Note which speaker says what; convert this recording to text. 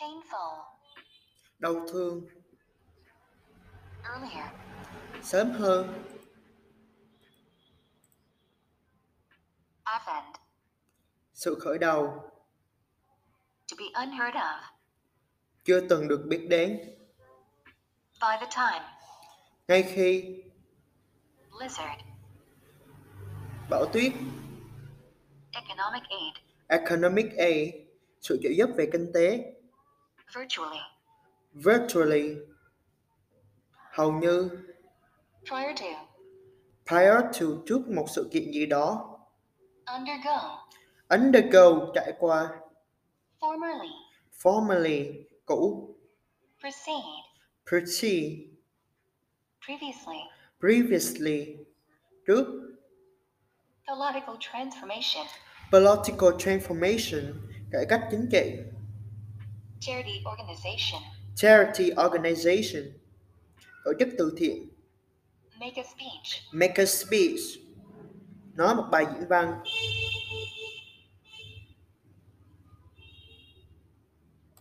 Speaker 1: painful,
Speaker 2: đau thương
Speaker 1: earlier,
Speaker 2: sớm hơn
Speaker 1: offend,
Speaker 2: sự khởi đầu
Speaker 1: to be unheard of,
Speaker 2: chưa từng được biết đến
Speaker 1: by the time,
Speaker 2: ngay khi
Speaker 1: lizard,
Speaker 2: bão tuyết
Speaker 1: economic aid,
Speaker 2: economic aid sự trợ giúp về kinh tế
Speaker 1: virtually,
Speaker 2: virtually hầu như
Speaker 1: prior to,
Speaker 2: prior to trước một sự kiện gì đó
Speaker 1: undergo,
Speaker 2: undergo trải qua
Speaker 1: formerly,
Speaker 2: formerly cũ
Speaker 1: precede,
Speaker 2: precede
Speaker 1: previously,
Speaker 2: previously trước
Speaker 1: theological transformation,
Speaker 2: political transformation cải cách chính trị
Speaker 1: charity organization,
Speaker 2: charity organization tổ chức từ thiện
Speaker 1: make a speech,
Speaker 2: make a speech nói một bài diễn văn